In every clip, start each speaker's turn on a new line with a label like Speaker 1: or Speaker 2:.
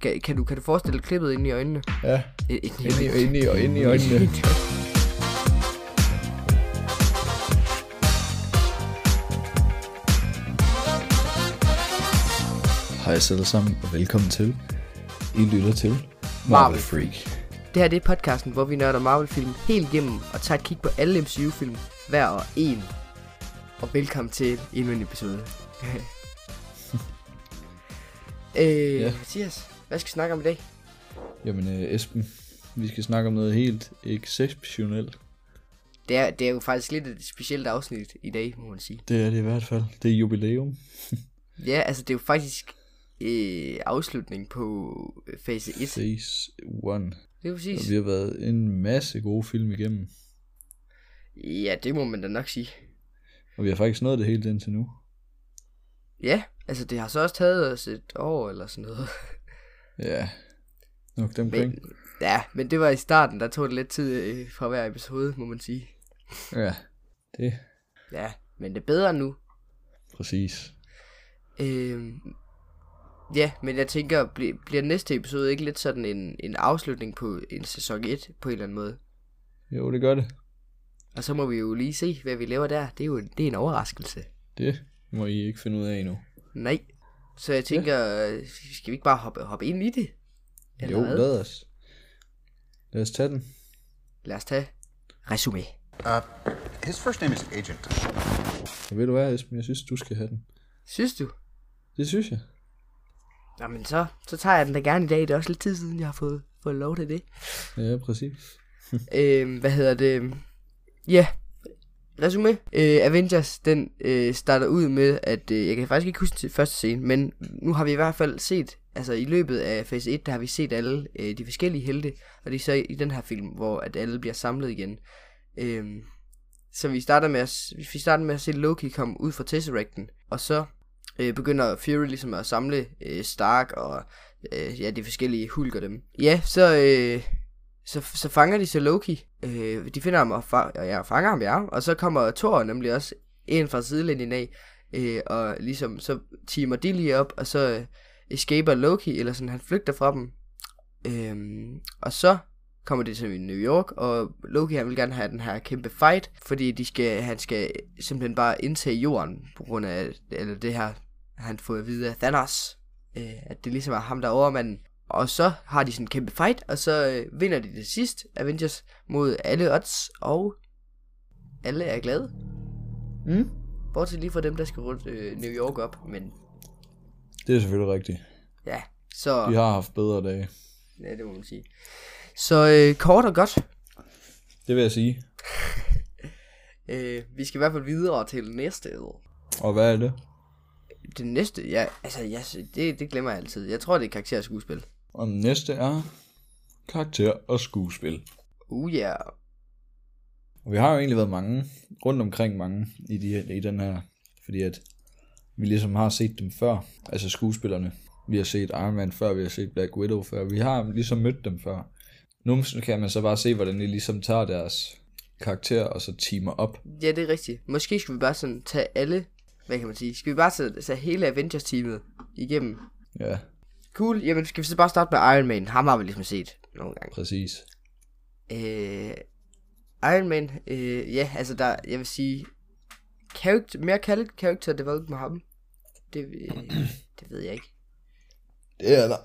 Speaker 1: Kan, kan, du, kan du forestille dig klippet inde i øjnene?
Speaker 2: Ja,
Speaker 1: Øh, Inde
Speaker 2: inde i, inde i, inde i øjnene. Hej alle sammen, og velkommen til. I lytter til Marvel
Speaker 1: Marvel
Speaker 2: Freak.
Speaker 1: Det her det er podcasten, hvor vi nørder Marvel-film helt igennem og tager et kig på alle MCU-film, hver og en. Og velkommen til endnu en episode. øh,
Speaker 2: Ja.
Speaker 1: yeah. Mathias, hvad skal vi snakke om i dag?
Speaker 2: Jamen øh, Esben, vi skal snakke om noget helt exceptionelt.
Speaker 1: Det er, det er jo faktisk lidt et specielt afsnit i dag, må man sige.
Speaker 2: Det er det i hvert fald. Det er jubilæum.
Speaker 1: Ja, altså det er jo faktisk øh, afslutning på øh, fase 1. Det
Speaker 2: Phase 1.
Speaker 1: er
Speaker 2: Og
Speaker 1: præcis.
Speaker 2: vi har været en masse gode film igennem.
Speaker 1: Ja, det må man da nok sige.
Speaker 2: Og vi har faktisk nået det hele indtil nu.
Speaker 1: Ja, altså det har så også taget os et år eller sådan noget.
Speaker 2: Ja, nok dem kring.
Speaker 1: Men, ja, men det var i starten, der tog det lidt tid øh, fra hver episode, må man sige.
Speaker 2: Ja, det
Speaker 1: Ja, men det er bedre nu.
Speaker 2: præcis.
Speaker 1: Øhm, ja, men jeg tænker, bli- bliver næste episode ikke lidt sådan en, en afslutning på en sæson 1 på en eller anden måde?
Speaker 2: Jo, det gør det.
Speaker 1: Og så må vi jo lige se, hvad vi laver der. Det er jo en, det er en overraskelse.
Speaker 2: Det må I ikke finde ud af endnu.
Speaker 1: Nej. Så jeg tænker, øh, skal vi ikke bare hoppe, hoppe ind i det? Eller
Speaker 2: jo,
Speaker 1: hvad?
Speaker 2: lad os. Lad os tage den.
Speaker 1: Lad os tage resume.
Speaker 3: Uh, His first name is Agent.
Speaker 2: Og ved du hvad, Esben, jeg synes, du skal have den.
Speaker 1: Synes du?
Speaker 2: Det synes jeg.
Speaker 1: Jamen så, så tager jeg den da gerne i dag. Det er også lidt tid siden, jeg har fået, fået lov til det.
Speaker 2: Ja, præcis.
Speaker 1: øh, hvad hedder det? Ja, resume. Øh, Avengers, den øh, starter ud med, at øh, jeg kan faktisk ikke huske til første scene, men nu har vi i hvert fald set, altså i løbet af fase 1, der har vi set alle øh, de forskellige helte, og det er så i den her film, hvor at alle bliver samlet igen. Øh, så vi starter med at, s- vi starter med at se Loki komme ud fra Tesseracten, og så øh, begynder Fury ligesom at samle øh, Stark og øh, ja, de forskellige Hulk og dem. Ja, så øh, så, så fanger de så Loki. Øh, de finder ham og, fa- og ja, fanger ham, ja. Og så kommer Thor nemlig også ind fra sidelinjen af. Øh, og ligesom, så timer de lige op, og så øh, escaper Loki, eller sådan, han flygter fra dem. Øh, og så kommer de til New York, og Loki han vil gerne have den her kæmpe fight, fordi de skal, han skal simpelthen bare indtage jorden, på grund af eller det her, han får at vide af Thanos, øh, at det ligesom er ham, der er overmanden. Og så har de sådan en kæmpe fight, og så øh, vinder de det sidst, Avengers, mod alle odds, og alle er glade.
Speaker 2: Mm.
Speaker 1: Bortset lige fra dem, der skal rundt øh, New York op, men
Speaker 2: Det er selvfølgelig rigtigt.
Speaker 1: ja, så...
Speaker 2: Vi har haft bedre dage.
Speaker 1: Ja, det må man sige. Så øh, kort og godt,
Speaker 2: Det vil jeg sige.
Speaker 1: øh, vi skal i hvert fald videre til næste år.
Speaker 2: Og hvad er det?
Speaker 1: Det næste, ja, altså, ja, det, det glemmer jeg altid. Jeg tror, det er karakterskuespil.
Speaker 2: Og den næste er karakter og skuespil.
Speaker 1: Uh, ja. Yeah.
Speaker 2: Og vi har jo egentlig været mange, rundt omkring mange, i, de, i den her, fordi at vi ligesom har set dem før, altså skuespillerne. Vi har set Iron Man før, vi har set Black Widow før, vi har ligesom mødt dem før. Nu kan man så bare se, hvordan de ligesom tager deres karakter og så timer op.
Speaker 1: Ja, det er rigtigt. Måske skal vi bare sådan tage alle, hvad kan man sige, skal vi bare tage, tage hele Avengers-teamet igennem.
Speaker 2: Ja,
Speaker 1: Cool, jamen skal vi så bare starte med Iron Man. Ham har vi ligesom set nogle gange.
Speaker 2: præcis.
Speaker 1: Øh, Iron Man, øh, ja, altså der, jeg vil sige, character, mere kaldet character development med ham, det, øh, det ved jeg ikke.
Speaker 2: Det er der.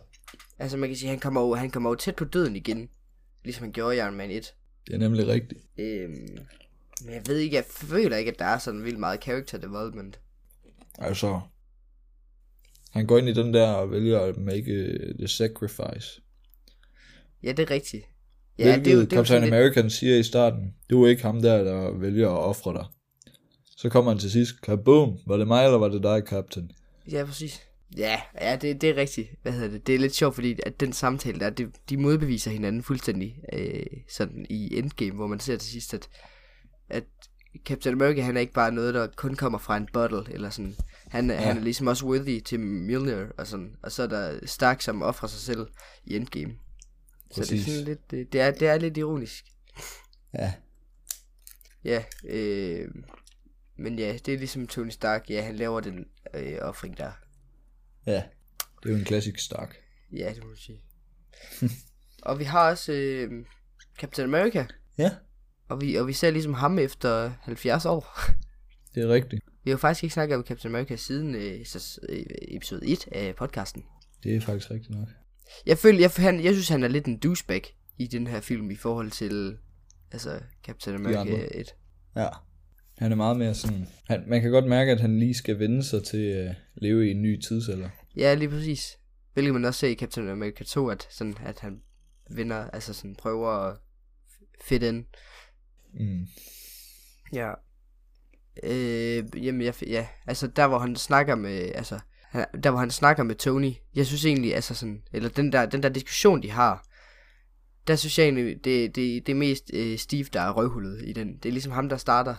Speaker 1: Altså man kan sige, han kommer jo, han kommer jo tæt på døden igen, ligesom han gjorde i Iron Man 1.
Speaker 2: Det er nemlig rigtigt.
Speaker 1: Øh, men jeg ved ikke, jeg føler ikke, at der er sådan vildt meget character development.
Speaker 2: Altså, han går ind i den der og vælger at make øh, the sacrifice.
Speaker 1: Ja, det er rigtigt. Ja,
Speaker 2: Ja, Hvilket det,
Speaker 1: jo-
Speaker 2: det,
Speaker 1: jo
Speaker 2: Captain
Speaker 1: sådan lidt-
Speaker 2: American siger i starten, du er ikke ham der, der vælger at ofre dig. Så kommer han til sidst, kaboom, var det mig eller var det dig, Captain?
Speaker 1: Ja, præcis. Ja, ja det, det er rigtigt. Hvad hedder det? Det er lidt sjovt, fordi at den samtale der, det, de modbeviser hinanden fuldstændig øh, sådan i Endgame, hvor man ser til sidst, at, at Captain America, han er ikke bare noget, der kun kommer fra en bottle, eller sådan. Han, ja. han er ligesom også worthy til Mjolnir, og sådan. Og så er der Stark, som offrer sig selv i Endgame. Så det er
Speaker 2: Præcis.
Speaker 1: sådan lidt, øh, det, det, er, det er lidt ironisk.
Speaker 2: Ja.
Speaker 1: Ja, øh, men ja, det er ligesom Tony Stark, ja, han laver den øh, offring der.
Speaker 2: Ja. Det er jo en klassisk Stark.
Speaker 1: Ja, det må man sige. og vi har også øh, Captain America,
Speaker 2: Ja,
Speaker 1: og vi, og vi ser ligesom ham efter 70 år.
Speaker 2: det er rigtigt.
Speaker 1: Vi har jo faktisk ikke snakket om Captain America siden øh, sæs- øh, episode 1 af podcasten.
Speaker 2: Det er faktisk rigtigt nok.
Speaker 1: Jeg føler, jeg, han, jeg synes, han er lidt en douchebag i den her film i forhold til altså Captain America
Speaker 2: andre.
Speaker 1: 1.
Speaker 2: Ja. Han er meget mere sådan... Han, man kan godt mærke, at han lige skal vende sig til at leve i en ny tidsalder.
Speaker 1: Ja, lige præcis. Hvilket man også ser i Captain America 2, at, sådan, at han vinder, altså sådan prøver at fit ind.
Speaker 2: Mm.
Speaker 1: Ja. Øh, jamen, jeg, ja, altså der hvor han snakker med, altså han, der hvor han snakker med Tony, jeg synes egentlig, altså sådan, eller den der, den der diskussion de har, der synes jeg egentlig, det, det, det er mest øh, Steve, der er røvhullet i den. Det er ligesom ham, der starter.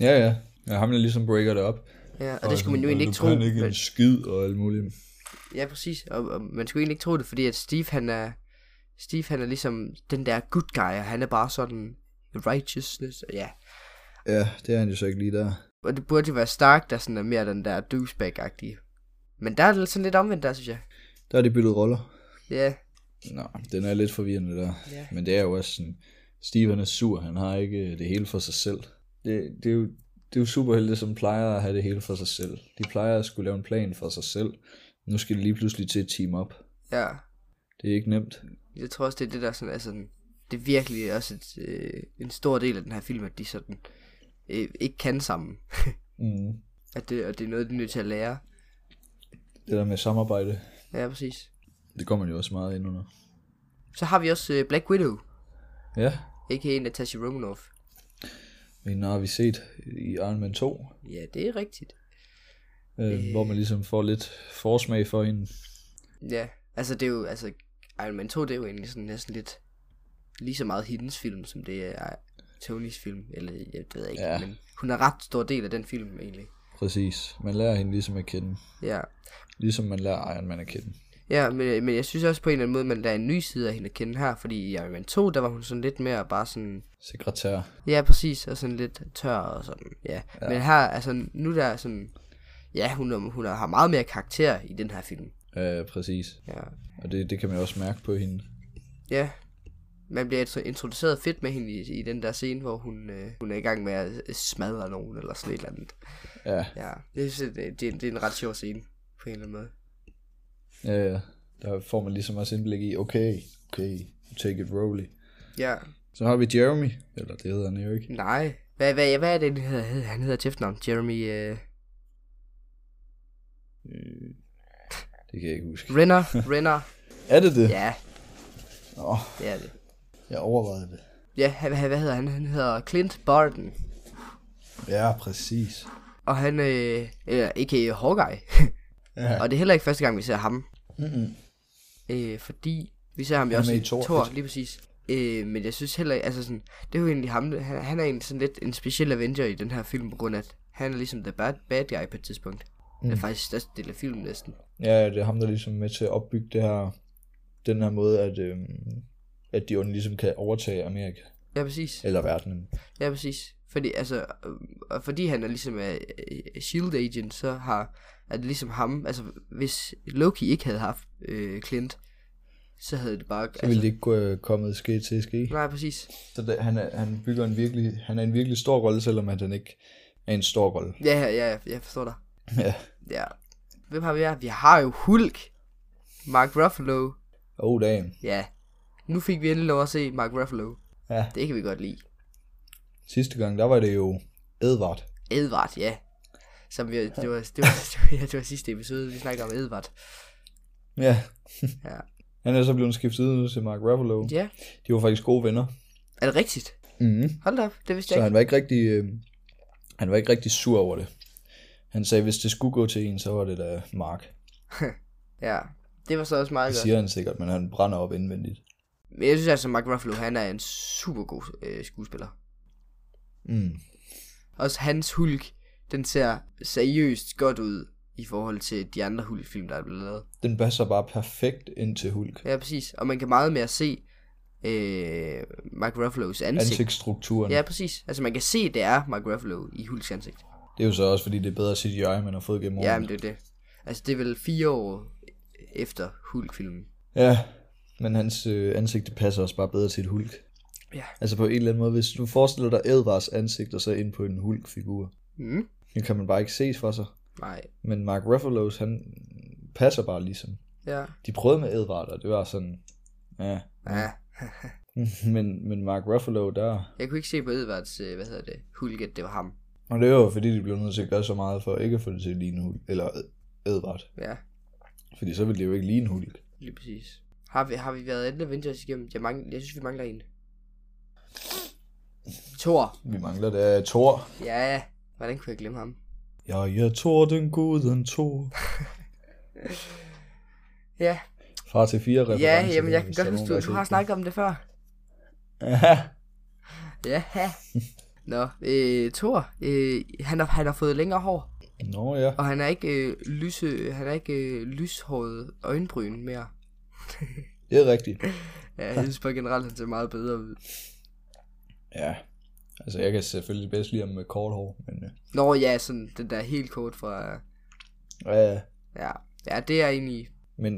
Speaker 2: Ja, ja. ja. Ham, der ligesom breaker det op.
Speaker 1: Ja, og, og det skulle man jo egentlig ikke tro.
Speaker 2: Han ikke
Speaker 1: men-
Speaker 2: en skid og alt muligt.
Speaker 1: Ja, præcis. Og, og man skulle egentlig ikke tro det, fordi at Steve, han er... Steve, han er ligesom den der good guy, og han er bare sådan righteousness, og ja.
Speaker 2: Ja, det er han jo så ikke lige der.
Speaker 1: Og det burde jo være Stark, der sådan er mere den der douchebag-agtige. Men der er det sådan lidt omvendt der, synes jeg.
Speaker 2: Der er de byttet roller.
Speaker 1: Ja,
Speaker 2: Nå, den er lidt forvirrende der.
Speaker 1: Ja.
Speaker 2: Men det er jo også sådan, Steve han er sur, han har ikke øh, det hele for sig selv. Det, det er jo, det er jo superhelte, som plejer at have det hele for sig selv. De plejer at skulle lave en plan for sig selv. Nu skal de lige pludselig til et team op.
Speaker 1: ja.
Speaker 2: Det er ikke nemt.
Speaker 1: Jeg tror også, det er det der sådan, altså, det er virkelig også et, øh, en stor del af den her film, at de sådan øh, ikke kan sammen.
Speaker 2: Mm.
Speaker 1: At det, og det er noget, de er nødt til at lære.
Speaker 2: Det der med samarbejde,
Speaker 1: Ja, præcis.
Speaker 2: det går man jo også meget ind under.
Speaker 1: Så har vi også øh, Black Widow,
Speaker 2: Ja,
Speaker 1: a.k.a. Natasha Romanoff.
Speaker 2: men har vi set i Iron Man 2,
Speaker 1: Ja, det er rigtigt.
Speaker 2: øh, hvor man ligesom får lidt forsmag for hende.
Speaker 1: Ja, altså det er jo, altså Iron Man 2, det er jo egentlig sådan næsten lidt lige så meget hendes film, som det er Tonys film, eller jeg det ved jeg ikke,
Speaker 2: Ja.
Speaker 1: ja. men hun er ret stor del af den film egentlig.
Speaker 2: Præcis. Man lærer hende ligesom at kende.
Speaker 1: Ja,
Speaker 2: Ligesom man lærer Iron Man at kende.
Speaker 1: ja men, men jeg synes også på en eller anden måde, man lærer en ny side af hende at kende her, fordi i Iron Man 2, der var hun sådan lidt mere bare sådan,
Speaker 2: Sekretær.
Speaker 1: ja præcis, og sådan lidt tør og sådan, ja. ja. Men her, altså nu der er sådan, ja, hun, er- hun er- har meget mere karakter i den her film.
Speaker 2: Ja, præcis.
Speaker 1: Ja,
Speaker 2: Og det, det kan man også mærke på hende.
Speaker 1: Ja. Man bliver altså introduceret fedt med hende i, i den der scene, hvor hun, øh, hun er i gang med at smadre nogen eller sådan et eller andet.
Speaker 2: Ja,
Speaker 1: Ja, det, synes jeg, det, det, er en- det er en ret sjov scene på en eller anden måde.
Speaker 2: ja, ja. Der får man ligesom også indblik i, okay, okay, take it roly.
Speaker 1: Ja,
Speaker 2: Så har vi Jeremy, eller det hedder han jo ikke.
Speaker 1: nej. Hvad, hvad, hvad er det, han hedder? Han hedder til efternavn Jeremy øh,
Speaker 2: Det kan jeg ikke huske.
Speaker 1: Renner. Renner.
Speaker 2: Er det det?
Speaker 1: Ja,
Speaker 2: Nå,
Speaker 1: det er det.
Speaker 2: jeg overvejede det.
Speaker 1: Ja, hvad, hvad hvad hedder han? Han hedder Clint Barton.
Speaker 2: Ja, præcis.
Speaker 1: Og han, øh, eller ikke Hawkeye.
Speaker 2: Ja.
Speaker 1: og det er heller ikke første gang, vi ser ham. Mm-hmm. Øh, fordi vi ser ham jo
Speaker 2: Han er
Speaker 1: også
Speaker 2: med
Speaker 1: i
Speaker 2: i Thor. altså.
Speaker 1: Thor, lige præcis. Øh, men jeg synes heller ikke, altså sådan, det er jo egentlig ham, han, han er egentlig sådan lidt en speciel Avenger i den her film, på grund af, at han er ligesom the bad, bad guy på et tidspunkt. Mm. Det er faktisk største del af filmen næsten.
Speaker 2: Ja, det er ham, der ligesom er med til at opbygge det her, den her måde, at, øhm, at de onde ligesom kan overtage Amerika,
Speaker 1: Ja, præcis.
Speaker 2: eller verdenen.
Speaker 1: Ja, præcis. Fordi, altså, øh, og fordi han er ligesom er øh, S.H.I.E.L.D. agent, så har, er det ligesom ham, altså hvis Loki ikke havde haft øh, Clint, så havde det bare... altså,
Speaker 2: Det ville det ikke kunne øh, komme ske til ske.
Speaker 1: nej, præcis.
Speaker 2: Så det, han, er, han bygger en virkelig, han er en virkelig stor rolle, selvom at han ikke er en stor rolle.
Speaker 1: Ja, ja, ja, jeg forstår dig.
Speaker 2: Ja.
Speaker 1: Ja. Hvem har vi her? Vi har jo Hulk. Mark Ruffalo.
Speaker 2: Oh damn.
Speaker 1: Ja. Nu fik vi endelig lov at se Mark Ruffalo.
Speaker 2: Ja.
Speaker 1: Det kan vi godt lide.
Speaker 2: Sidste gang, der var det jo Edvard.
Speaker 1: Edvard, ja. Som vi, det, var, det, var, det, var, ja, det var sidste episode, vi snakkede om Edvard.
Speaker 2: Ja.
Speaker 1: Ja.
Speaker 2: Han er så blevet skiftet ud nu til Mark Ruffalo.
Speaker 1: Ja.
Speaker 2: De var faktisk gode venner.
Speaker 1: Er det rigtigt?
Speaker 2: Mm-hmm.
Speaker 1: Hold da op, det vidste
Speaker 2: Så
Speaker 1: jeg
Speaker 2: han
Speaker 1: ikke.
Speaker 2: var ikke rigtig, øh, han var ikke rigtig sur over det. Han sagde, hvis det skulle gå til en, så var det da Mark.
Speaker 1: Ja. Det var så også meget
Speaker 2: Det
Speaker 1: godt.
Speaker 2: siger han sikkert, men han brænder op indvendigt.
Speaker 1: Men jeg synes altså, Mark Ruffalo, han er en super god øh, skuespiller.
Speaker 2: Mm.
Speaker 1: Også hans Hulk, den ser seriøst godt ud i forhold til de andre Hulk-film, der er blevet lavet.
Speaker 2: Den passer bare perfekt ind til Hulk.
Speaker 1: Ja, præcis. Og man kan meget mere se øh, Mark Ruffalo's ansigt. ansigt.
Speaker 2: Ansigtsstrukturen.
Speaker 1: Ja, præcis. Altså, man kan se, det er Mark Ruffalo i Hulks ansigt.
Speaker 2: Det er jo så også, fordi det er bedre CGI, man har fået gennem
Speaker 1: Ja,
Speaker 2: årene.
Speaker 1: men det er det. Altså, det er vel fire år efter Hulk-filmen.
Speaker 2: Ja, men hans øh, ansigt det passer også bare bedre til et hulk.
Speaker 1: Ja.
Speaker 2: Altså på en eller anden måde, hvis du forestiller dig Edvards ansigt og så ind på en hulk-figur,
Speaker 1: Mm.
Speaker 2: den kan man bare ikke ses for sig.
Speaker 1: Nej.
Speaker 2: Men Mark Ruffalo's, han passer bare ligesom.
Speaker 1: Ja.
Speaker 2: De prøvede med Edvard, og det var sådan, ja.
Speaker 1: Ja.
Speaker 2: men, men Mark Ruffalo, der...
Speaker 1: Jeg kunne ikke se på Edvards, øh, hvad hedder det, Hulk, at det var ham.
Speaker 2: Og det var jo, fordi, de blev nødt til at gøre så meget for ikke at få det til at ligne Hulk, eller Edvard.
Speaker 1: Ja,
Speaker 2: Fordi så ville det jo ikke ligne Hulk.
Speaker 1: lige præcis. Har vi, har vi været alle Avengers igennem? Jeg, mangler, jeg synes, vi mangler en. Thor.
Speaker 2: Vi mangler da Thor.
Speaker 1: Ja, hvordan kunne jeg glemme ham?
Speaker 2: Jeg er Thor, den gode, den Thor.
Speaker 1: Ja,
Speaker 2: Far til fire referencer.
Speaker 1: ja jamen, jeg kan
Speaker 2: der, hvis
Speaker 1: godt
Speaker 2: der er
Speaker 1: huske,
Speaker 2: nogen,
Speaker 1: du,
Speaker 2: der
Speaker 1: du
Speaker 2: har
Speaker 1: har
Speaker 2: set den.
Speaker 1: snakket om det før.
Speaker 2: Ja.
Speaker 1: Ja. Nå, øh, Thor, øh, han, har, han har fået længere hår,
Speaker 2: Nå ja.
Speaker 1: og han er ikke, øh, lyse, han er ikke øh, lyshåret øjenbryn mere.
Speaker 2: Det er rigtigt.
Speaker 1: Ja, jeg synes bare generelt, han ser meget bedre ud.
Speaker 2: Ja. Altså, jeg kan selvfølgelig bedst lide ham med kort hår, men... øh,
Speaker 1: Nå ja, sådan den der helt kort fra...
Speaker 2: Ja, ja.
Speaker 1: Ja, ja det er jeg egentlig...
Speaker 2: Men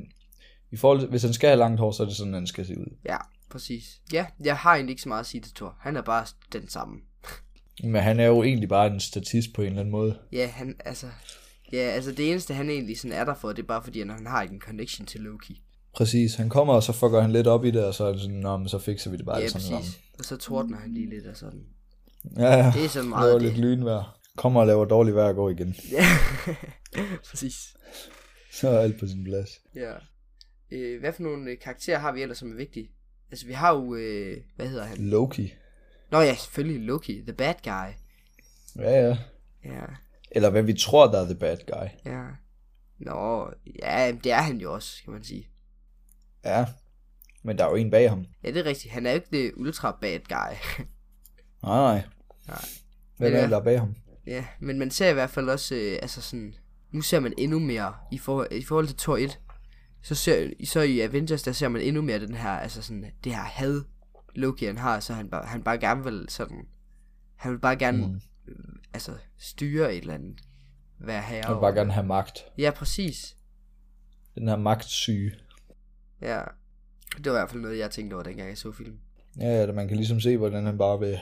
Speaker 2: i forhold til, hvis han skal have langt hår, så er det sådan, han skal se ud.
Speaker 1: Ja, præcis. Ja, jeg har egentlig ikke så meget at sige til Thor. Han er bare den samme.
Speaker 2: Men han er jo egentlig bare en statist på en eller anden måde.
Speaker 1: Ja, han, altså... Ja, altså det eneste, han egentlig sådan er der for, det er bare fordi, at han har ikke en connection til Loki.
Speaker 2: Præcis, han kommer, og så fucker han lidt op i det, og så er det sådan, Nå, men så fikser vi det bare
Speaker 1: Ja,
Speaker 2: alt sammen. sammen."
Speaker 1: præcis. Og så tordner han lige lidt og sådan.
Speaker 2: Ja, ja.
Speaker 1: Det er sådan meget
Speaker 2: Laver
Speaker 1: det.
Speaker 2: lidt lynvejr. Kommer og laver dårligt vejr og går igen.
Speaker 1: Ja, præcis.
Speaker 2: Så er alt på sin plads.
Speaker 1: Ja. Øh, hvad for nogle øh, karakterer har vi ellers, som er vigtige? Altså, vi har jo... Øh, hvad hedder han?
Speaker 2: Loki.
Speaker 1: Nå ja, selvfølgelig Loki, the bad guy.
Speaker 2: Ja, ja.
Speaker 1: Ja,
Speaker 2: Eller hvad vi tror, der er the bad guy.
Speaker 1: ja. Nå, ja, det er han jo også, kan man sige.
Speaker 2: Ja. Men der er jo en bag ham.
Speaker 1: Ja, det er rigtigt. Han er jo ikke det ultra bad guy.
Speaker 2: Nej, nej.
Speaker 1: Nej. Men,
Speaker 2: Hvem er
Speaker 1: øh,
Speaker 2: det, der er bag ham?
Speaker 1: Ja, men man ser i hvert fald også, øh, altså sådan, nu ser man endnu mere i, for, i forhold til Thor 1. Så, ser, så i Avengers, der ser man endnu mere den her, altså sådan, det her had, Loki han har, så han bare, han bare gerne vil sådan, han vil bare gerne, mm. altså, styre et eller andet, være herre.
Speaker 2: Han vil
Speaker 1: over
Speaker 2: bare
Speaker 1: det.
Speaker 2: gerne have magt.
Speaker 1: Ja, præcis.
Speaker 2: Den her magtsyge.
Speaker 1: Ja. Det var i hvert fald noget, jeg tænkte over, dengang jeg så filmen.
Speaker 2: Ja, ja, man kan ligesom se, hvordan han bare vil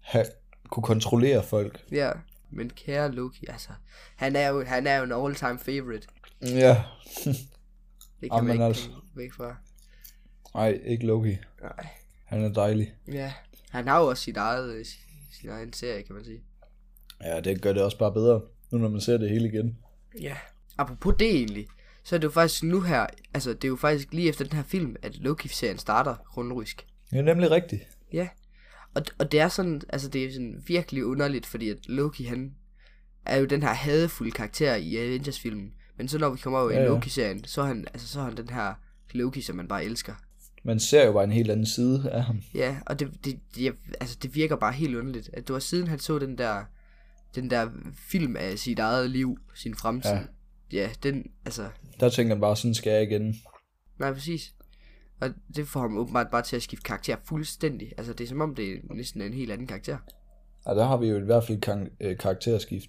Speaker 2: have, kunne kontrollere folk.
Speaker 1: Ja, men kære Loki, altså, han er jo, han er jo en all-time favorite.
Speaker 2: Ja.
Speaker 1: Det kan
Speaker 2: Jamen
Speaker 1: man ikke
Speaker 2: altså.
Speaker 1: komme væk fra.
Speaker 2: Nej, ikke Loki.
Speaker 1: Nej.
Speaker 2: Han er dejlig.
Speaker 1: Ja, han har jo også sit eget, øh, sin, sin egen serie, kan man sige.
Speaker 2: Ja, det gør det også bare bedre, nu når man ser det hele igen.
Speaker 1: Ja. Apropos det egentlig, så er det jo faktisk nu her, altså det er jo faktisk lige efter den her film, at Loki-serien starter rundrysk.
Speaker 2: Det er nemlig rigtigt.
Speaker 1: Ja. Og, og det er sådan, altså det er sådan virkelig underligt, fordi at Loki han er jo den her hadefulde karakter i Avengers-filmen. Men så når vi kommer over ja,
Speaker 2: Ja,
Speaker 1: i
Speaker 2: ja.
Speaker 1: Loki-serien, så er, han, altså, så er han den her Loki, som man bare elsker.
Speaker 2: Man ser jo bare en helt anden side af ham.
Speaker 1: Ja, og det, det, det, jeg, altså, det virker bare helt underligt, at det var siden han så den der, den der film af sit eget liv, sin fremtid. Ja.
Speaker 2: Ja.
Speaker 1: ja, den, altså,
Speaker 2: Der tænker han bare, sådan skal jeg igen.
Speaker 1: nej præcis. Og det får ham åbenbart bare til at skifte karakter fuldstændig. Altså, det er som om, det er næsten en helt anden karakter.
Speaker 2: Og der har vi jo i hvert fald kan- øh, karakterskift.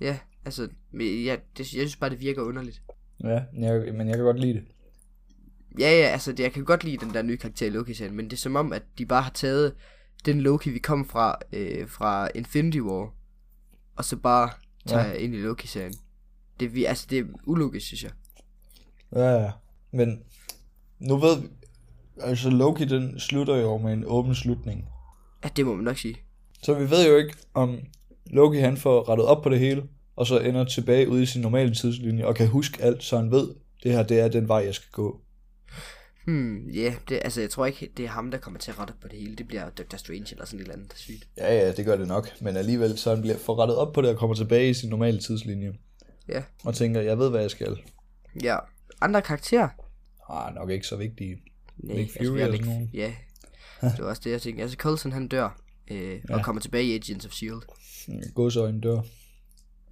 Speaker 1: Ja, altså, men ja, det, jeg synes bare, det virker underligt.
Speaker 2: Ja, men jeg, men jeg kan godt lide det.
Speaker 1: Ja, ja, altså, det, jeg kan godt lide den der nye karakter i Loki-serien, men det er som om, at de bare har taget den Loki, vi kom fra, øh, fra Infinity War, og så bare tager ja. ind i Loki-serien. Det, er vi, altså, det er ulogisk, synes jeg.
Speaker 2: Ja, ja. Men nu ved vi... Altså Loki, den slutter jo med en åben slutning.
Speaker 1: Ja, det må man nok sige.
Speaker 2: Så vi ved jo ikke, om Loki han får rettet op på det hele, og så ender tilbage ude i sin normale tidslinje, og kan huske alt, så han ved, det her det er den vej, jeg skal gå.
Speaker 1: Hmm, ja, yeah, det, altså, jeg tror ikke, det er ham, der kommer til at rette op på det hele. Det bliver Dr. Strange eller sådan et eller andet, der er sygt.
Speaker 2: Ja, ja, det gør det nok. Men alligevel, så han bliver får rettet op på det og kommer tilbage i sin normale tidslinje.
Speaker 1: Ja.
Speaker 2: Og tænker, jeg ved, hvad jeg skal.
Speaker 1: Ja, andre karakterer?
Speaker 2: Ah, nok ikke så vigtige.
Speaker 1: Nej,
Speaker 2: Nick
Speaker 1: vi
Speaker 2: Fury
Speaker 1: har
Speaker 2: og
Speaker 1: Nick-
Speaker 2: sådan nogen.
Speaker 1: Ja, det var også det, jeg tænkte. Altså, Coulson, han dør, øh, ja. og kommer tilbage i E Agents of S.H.I.E.L.D.
Speaker 2: Godsøjne dør.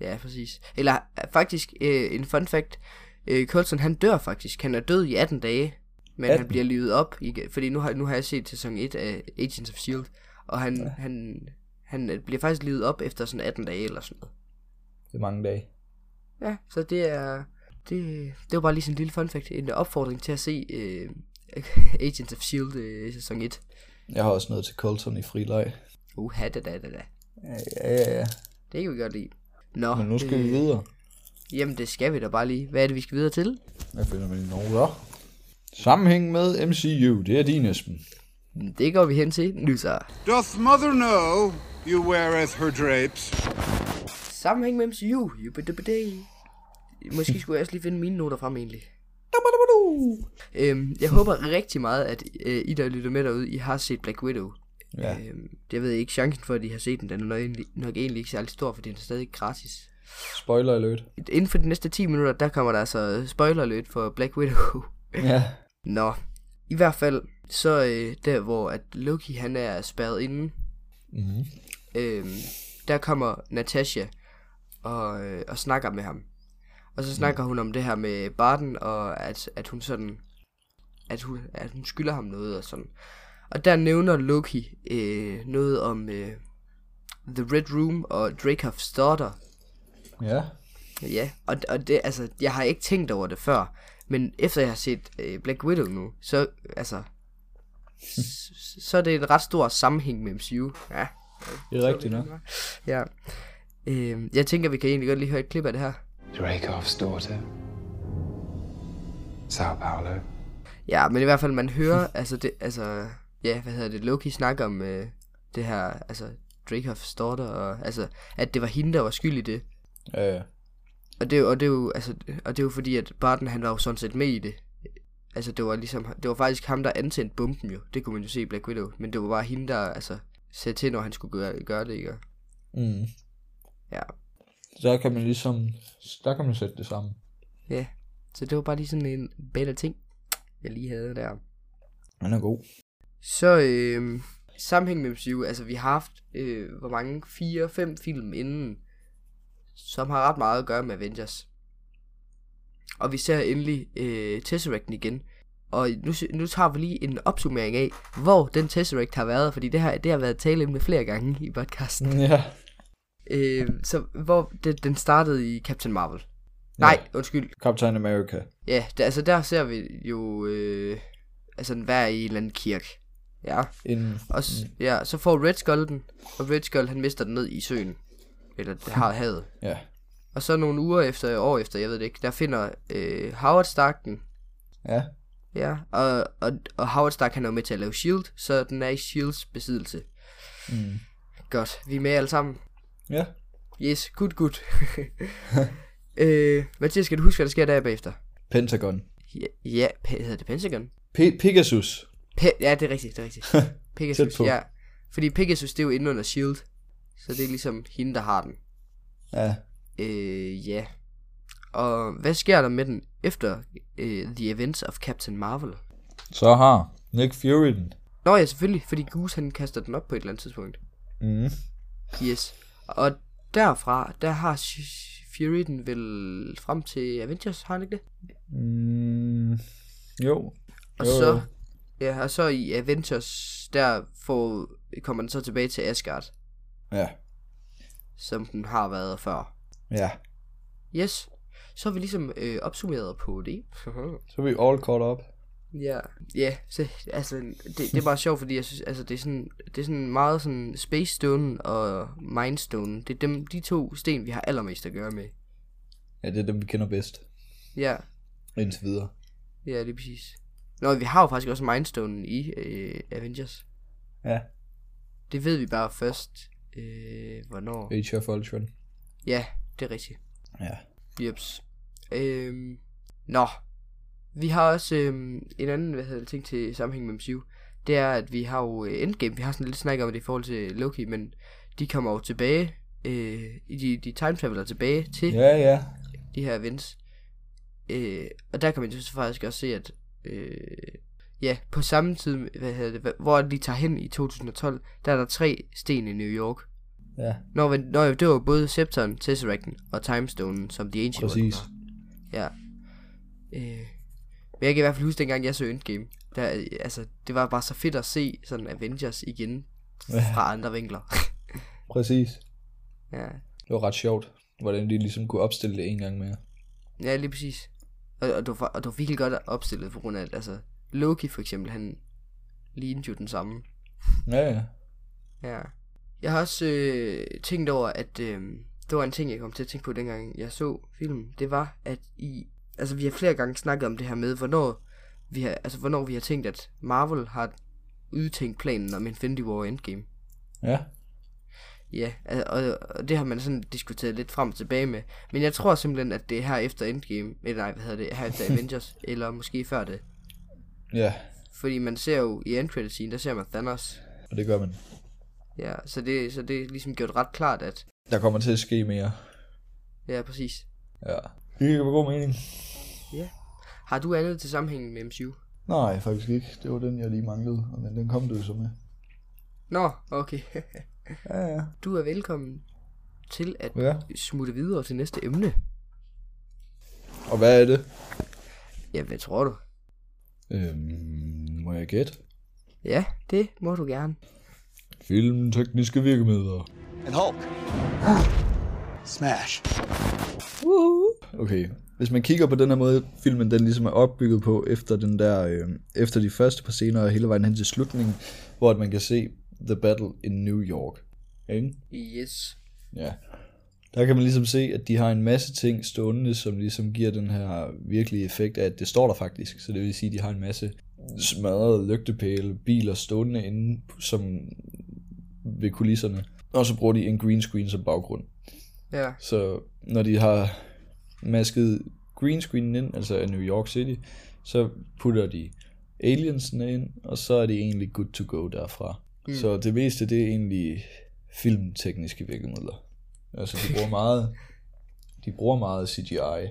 Speaker 1: Ja, præcis. Eller øh, faktisk, øh, en fun fact. Øh, Coulson, han dør faktisk. Han er død i 18 dage, men 18. han
Speaker 2: 18?
Speaker 1: bliver livet op. Igen, fordi nu har, nu har jeg set sæson 1 af Agents of S.H.I.E.L.D., E og han, ja. han, han øh, bliver faktisk livet op efter sådan 18 dage eller sådan noget.
Speaker 2: Det er mange dage.
Speaker 1: Ja, så det er... Det, det var bare lige sådan en lille fun fact. En opfordring til at se øh, Agents of S.H.I.E.L.D. Øh, sæson 1.
Speaker 2: Jeg har også noget til Colton i frileg.
Speaker 1: Uha, da, da, da, da.
Speaker 2: Ja, ja, ja, ja.
Speaker 1: Det kan vi godt lide. Nå, øh,
Speaker 2: Men nu skal vi videre.
Speaker 1: Jamen, det skal vi da bare lige. Hvad er det, vi skal videre til?
Speaker 2: Hvad finder man i Norge? Sammenhæng med MCU, det er din, Esben.
Speaker 1: Det går vi hen til nu så.
Speaker 4: Doth mother know you weareth her drapes?
Speaker 1: Sammenhæng med MCU. Jubidubidæ. Måske skulle jeg også lige finde mine noter frem egentlig. Øhm, jeg håber rigtig meget, at øh, I der lytter med derude, I har set Black Widow.
Speaker 2: Ja.
Speaker 1: Øhm, jeg ved ikke, chancen for, at I har set den, den er nok egentlig, nok egentlig ikke særlig stor, for den er stadig gratis.
Speaker 2: Spoiler alert.
Speaker 1: Inden for de næste 10 minutter, der kommer der altså spoiler alert for Black Widow.
Speaker 2: Ja.
Speaker 1: Nå, i hvert fald, så øh, der hvor at Loki han er spærret inde,
Speaker 2: Mm-hmm.
Speaker 1: øh, der kommer Natasha og, øh, og snakker med ham. Og så snakker hun om det her med Barton, og at, at hun sådan, at hun, at hun skylder ham noget og sådan. Og der nævner Loki øh, noget om øh, The Red Room og Dracov's Daughter.
Speaker 2: Ja.
Speaker 1: Ja, og, og det, altså, jeg har ikke tænkt over det før, men efter jeg har set øh, Black Widow nu, så, altså, s- så er det en ret stor sammenhæng med MCU. Ja.
Speaker 2: Det er rigtigt nok.
Speaker 1: Ja. Øh, jeg tænker, vi kan egentlig godt lige høre et klip af det her.
Speaker 5: Drakov's daughter. Sao Paulo.
Speaker 1: Ja, men i hvert fald, man hører, altså, det, altså, ja, hvad hedder det, Loki snakker om øh, det her, altså, Dracoffs daughter, og, altså, at det var hende, der var skyld i det.
Speaker 2: Ja, ja.
Speaker 1: Og det, er jo- og det er jo, altså, og det er jo fordi, at Barton, han var jo sådan set med i det. Altså, det var ligesom, det var faktisk ham, der antændte bomben jo. Det kunne man jo se i Black Widow. Men det var bare hende, der, altså, sagde til, når han skulle gøre, gøre det, ikke?
Speaker 2: Mm.
Speaker 1: Ja.
Speaker 2: Der kan man ligesom, der kan man sætte det sammen.
Speaker 1: Ja, så det var bare lige sådan en bedre ting, jeg lige havde der.
Speaker 2: Han er god.
Speaker 1: Så øh, sammenhæng med MCU, altså vi har haft, øh, hvor mange, fire, fem film inden, som har ret meget at gøre med Avengers. Og vi ser endelig øh, Tesseracten igen. Og nu, se- nu tager vi lige en opsummering af, hvor den Tesseract har været, fordi det her det har været tale med flere gange i podcasten.
Speaker 2: Ja.
Speaker 1: Øh, så hvor det, den startede i Captain Marvel. Nej, undskyld,
Speaker 2: Captain America.
Speaker 1: Ja, der, altså der ser vi jo øh, altså den hver i en eller anden kirke. Ja,
Speaker 2: En,
Speaker 1: og s-
Speaker 2: Mm.
Speaker 1: ja, så får Red Skull den, og Red Skull han mister den ned i søen. Eller det har havet.
Speaker 2: ja.
Speaker 1: Og så nogle uger efter, år efter, jeg ved det ikke, der finder øh, Howard Stark den.
Speaker 2: Ja.
Speaker 1: Ja, og, og, og Howard Stark han er jo med til at lave S.H.I.E.L.D., E så den er i S.H.I.E.L.D.'s besiddelse.
Speaker 2: Mm.
Speaker 1: Godt, vi er med alle sammen.
Speaker 2: Ja.
Speaker 1: Yes, good, good. øh, Mathias, skal du huske, hvad der sker der bagefter?
Speaker 2: Pentagon.
Speaker 1: Ja, ja pe- hedder det Pentagon?
Speaker 2: P- Pegasus.
Speaker 1: Pe- ja, det er rigtigt, det er rigtigt. Pegasus,
Speaker 2: Tæt på.
Speaker 1: ja. Fordi Pegasus, det er jo inde under S.H.I.E.L.D., E så det er ligesom hende, der har den.
Speaker 2: Ja.
Speaker 1: Øh, ja. Og hvad sker der med den efter øh, The Events of Captain Marvel?
Speaker 2: Så har Nick Fury den.
Speaker 1: Nå ja, selvfølgelig, fordi Goose han kaster den op på et eller andet tidspunkt.
Speaker 2: Mm.
Speaker 1: Yes. Og derfra, der har Sh- Fury den vel frem til Avengers, har han ikke det?
Speaker 2: Mm. Jo.
Speaker 1: Og
Speaker 2: Jo,
Speaker 1: så,
Speaker 2: jo.
Speaker 1: ja, og så i Avengers, der får, kommer den så tilbage til Asgard,
Speaker 2: Ja.
Speaker 1: som den har været før.
Speaker 2: Ja.
Speaker 1: Yes, så er vi ligesom øh, opsummeret på det.
Speaker 2: Så er vi all caught up.
Speaker 1: ja. Ja, så, altså, det, det er bare sjovt, fordi jeg synes, altså, det, er sådan, det er sådan meget sådan Space Stone og Mindstone. Det er dem, de to sten, vi har allermest at gøre med.
Speaker 2: Ja, det er dem, vi kender bedst.
Speaker 1: Ja,
Speaker 2: Indtil videre.
Speaker 1: ja, lige præcis. Nå, vi har jo faktisk også Mindstone i øh, Avengers.
Speaker 2: Ja.
Speaker 1: Det ved vi bare først, øh, hvornår.
Speaker 2: Age of Ultron.
Speaker 1: Ja, det er rigtigt.
Speaker 2: Ja.
Speaker 1: Jeps. Øhm, nå. Vi har også øhm, en anden hvad hedder det, ting til sammenhæng med MCU. Det er, at vi har jo øh, Endgame. Vi har sådan lidt snak om det i forhold til Loki, men de kommer jo tilbage. Øh, i de, de time traveler tilbage til
Speaker 2: Ja, ja.
Speaker 1: de her events. Øh, og der kan man jo så faktisk også se, at øh, ja, på samme tid, hvad hedder det, hva- hvor de tager hen i 2012, der er der tre sten i New York.
Speaker 2: Ja,
Speaker 1: Når, vi- når det var både Scepteren, Tesseracten og Timestonen, som de Ancient One
Speaker 2: præcis.
Speaker 1: var. Ja. Øh. Men jeg kan i hvert fald huske, dengang jeg så Endgame. Der, øh, altså, det var bare så fedt at se sådan Avengers igen fra andre vinkler.
Speaker 2: Præcis.
Speaker 1: ja.
Speaker 2: Det var ret sjovt, hvordan de ligesom kunne opstille det en gang mere.
Speaker 1: ja, lige præcis. Og, og, du var, og du var virkelig godt opstillet på grund af, at altså, Loki for eksempel, han lignede jo den samme.
Speaker 2: Ja, ja.
Speaker 1: Ja. Jeg har også øh, tænkt over, at øh, det var en ting, jeg kom til at tænke på, dengang jeg så filmen. Det var, at i... Altså, vi har flere gange snakket om det her med, hvornår vi har, altså, hvornår vi har tænkt, at Marvel har udtænkt planen om Infinity War og Endgame.
Speaker 2: Ja,
Speaker 1: Ja, al- og, og det har man sådan diskuteret lidt frem og tilbage med. Men jeg tror simpelthen, at det er her efter Endgame, eller nej, hvad hedder det, her efter Avengers, eller måske før det.
Speaker 2: ja.
Speaker 1: Fordi man ser jo i endcredit scene der ser man Thanos.
Speaker 2: og det gør man.
Speaker 1: Ja, så det, så det er ligesom gjort ret klart, at...
Speaker 2: Der kommer til at ske mere.
Speaker 1: Ja, præcis.
Speaker 2: Ja. Det giver god mening.
Speaker 1: Har du andet til sammenhængen med MCU?
Speaker 2: Nej, faktisk ikke. Det var den, jeg lige manglede, men den kom du jo så med.
Speaker 1: Nå, okay.
Speaker 2: Ja, ja.
Speaker 1: Du er velkommen til at
Speaker 2: Ja.
Speaker 1: smutte videre til næste emne.
Speaker 2: Og hvad er det?
Speaker 1: Ja, hvad tror du?
Speaker 2: Øhm, må jeg gætte?
Speaker 1: Ja, det må du gerne.
Speaker 2: Film, tekniske virkemidler.
Speaker 4: And Hulk. Smash.
Speaker 2: Okay, hvis man kigger på den her måde, filmen den ligesom er opbygget på, efter, den der, øh, efter de første par scener og hele vejen hen til slutningen, hvor at man kan se The Battle in New York. Ikke?
Speaker 1: Yes.
Speaker 2: Ja. Der kan man ligesom se, at de har en masse ting stående, som ligesom giver den her virkelige effekt af, at det står der faktisk. Så det vil sige, at de har en masse smadrede lygtepæle, biler stående inde som ved kulisserne. Og så bruger de en green screen som baggrund.
Speaker 1: Ja,
Speaker 2: Så når de har masket green screenen ind, altså af New York City, så putter de aliensene ind, og så er det egentlig good to go derfra. Mm. Så det meste, det er egentlig filmtekniske virkemidler. Altså de bruger meget, de bruger meget CGI,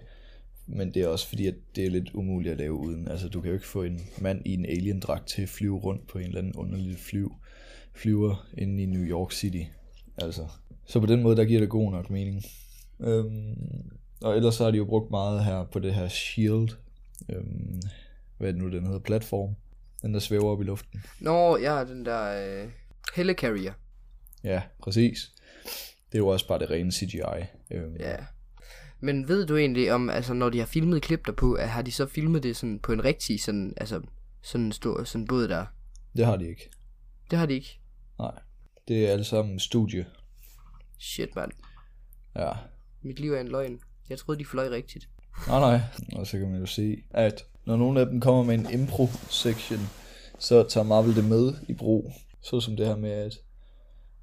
Speaker 2: men det er også fordi, at det er lidt umuligt at lave uden. Altså du kan jo ikke få en mand i en alien-dragt til at flyve rundt på en eller anden underlig flyv, flyver inde i New York City. Altså, så på den måde, der giver det god nok mening. Øhm, og ellers så har de jo brugt meget her på det her shield, øhm, hvad er det nu den hedder, platform, den der svæver op i luften.
Speaker 1: Nå, ja, den der øh, helicarrier.
Speaker 2: Ja, præcis. Det er jo også bare det rene CGI. Øhm,
Speaker 1: Ja. Men ved du egentlig om, altså når de har filmet klip derpå, at har de så filmet det sådan på en rigtig sådan, altså sådan en stor, sådan en båd der?
Speaker 2: Det har de ikke.
Speaker 1: Det har de ikke.
Speaker 2: Nej. Det er alt sammen studie.
Speaker 1: Shit, mand.
Speaker 2: Ja.
Speaker 1: Mit liv er en løgn. Jeg troede, de fløj rigtigt.
Speaker 2: Nej, nej. Og så kan man jo se, at når nogle af dem kommer med en impro-section, så tager Marvel det med i brug. Så som det her med, at,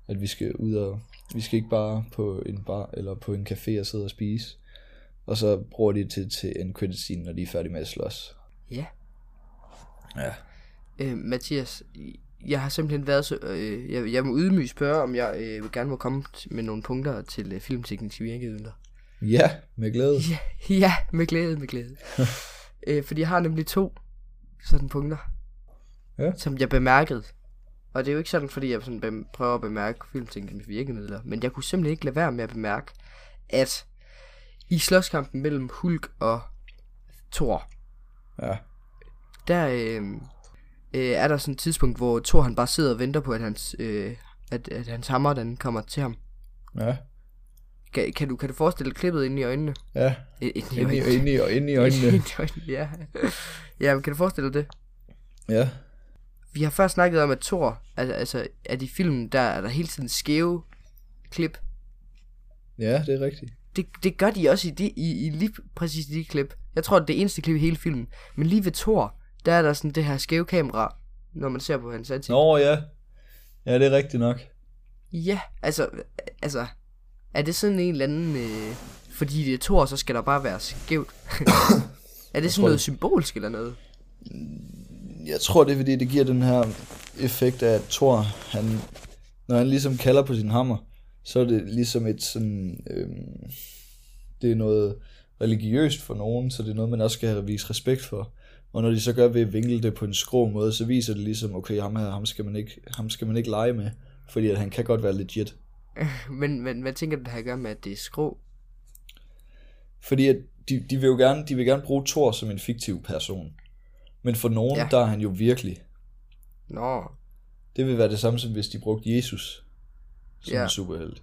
Speaker 2: at vi skal ud og... Vi skal ikke bare på en bar eller på en café og sidde og spise. Og så bruger de det til, til en credit scene, når de er færdige med at slås.
Speaker 1: Ja.
Speaker 2: Ja.
Speaker 1: Øh, Mathias, jeg har simpelthen været så... Øh, jeg, jeg må ydmygt spørge, om jeg øh, gerne må komme t- med nogle punkter til øh, filmtekniske virkemidler.
Speaker 2: Ja, med glæde.
Speaker 1: Ja, ja, med glæde, med glæde. øh, fordi jeg har nemlig to sådan punkter,
Speaker 2: Ja.
Speaker 1: som jeg bemærkede. Og det er jo ikke sådan, fordi jeg sådan bem- prøver at bemærke filmtekniske virkemidler, men jeg kunne simpelthen ikke lade være med at bemærke, at i slåskampen mellem Hulk og Thor,
Speaker 2: Ja.
Speaker 1: der øh, øh, er der sådan et tidspunkt, hvor Thor han bare sidder og venter på, at hans, øh, at, at hans hammer den kommer til ham.
Speaker 2: Ja.
Speaker 1: Kan, kan, du, kan du forestille dig klippet ind i øjnene?
Speaker 2: Ja.
Speaker 1: Øh, Ind i
Speaker 2: Ind i,
Speaker 1: øjnene.
Speaker 2: ind i, ind i
Speaker 1: Ind
Speaker 2: øjnene.
Speaker 1: i øjnene, ja. ja, men kan du forestille dig det?
Speaker 2: Ja.
Speaker 1: Vi har før snakket om, at Thor, altså, altså at i filmen, der er der hele tiden skæve klip.
Speaker 2: Ja, det er rigtigt.
Speaker 1: Det, det gør de også i, de, i, i lige præcis de klip. Jeg tror, det er det eneste klip i hele filmen. Men lige ved Thor, der er der sådan det her skæve kamera, når man ser på hans ansigt.
Speaker 2: Nå ja. Ja, det er rigtigt nok.
Speaker 1: Ja, altså, altså, er det sådan en eller anden, øh, fordi det er Thor, så skal der bare være skævt. er det sådan noget symbolsk eller noget?
Speaker 2: Jeg tror, det er fordi, det giver den her effekt af, at Thor, han, når han ligesom kalder på sin hammer, så er det ligesom et sådan, øhm, det er noget religiøst for nogen, så det er noget, man også skal vise respekt for. Og når de så gør ved at vinkle det på en skrå måde, så viser det ligesom, okay, ham her, ham skal man ikke, ham skal man ikke lege med, fordi at han kan godt være legit.
Speaker 1: Men, men hvad tænker du, det har at gøre med, at det er skrå?
Speaker 2: Fordi at de, de, vil jo gerne, de vil gerne bruge Thor som en fiktiv person. Men for nogen,
Speaker 1: Ja.
Speaker 2: ja. der er han jo virkelig.
Speaker 1: Nå,
Speaker 2: Det vil være det samme som hvis de brugte Jesus som
Speaker 1: Ja.
Speaker 2: ja. en superhelt.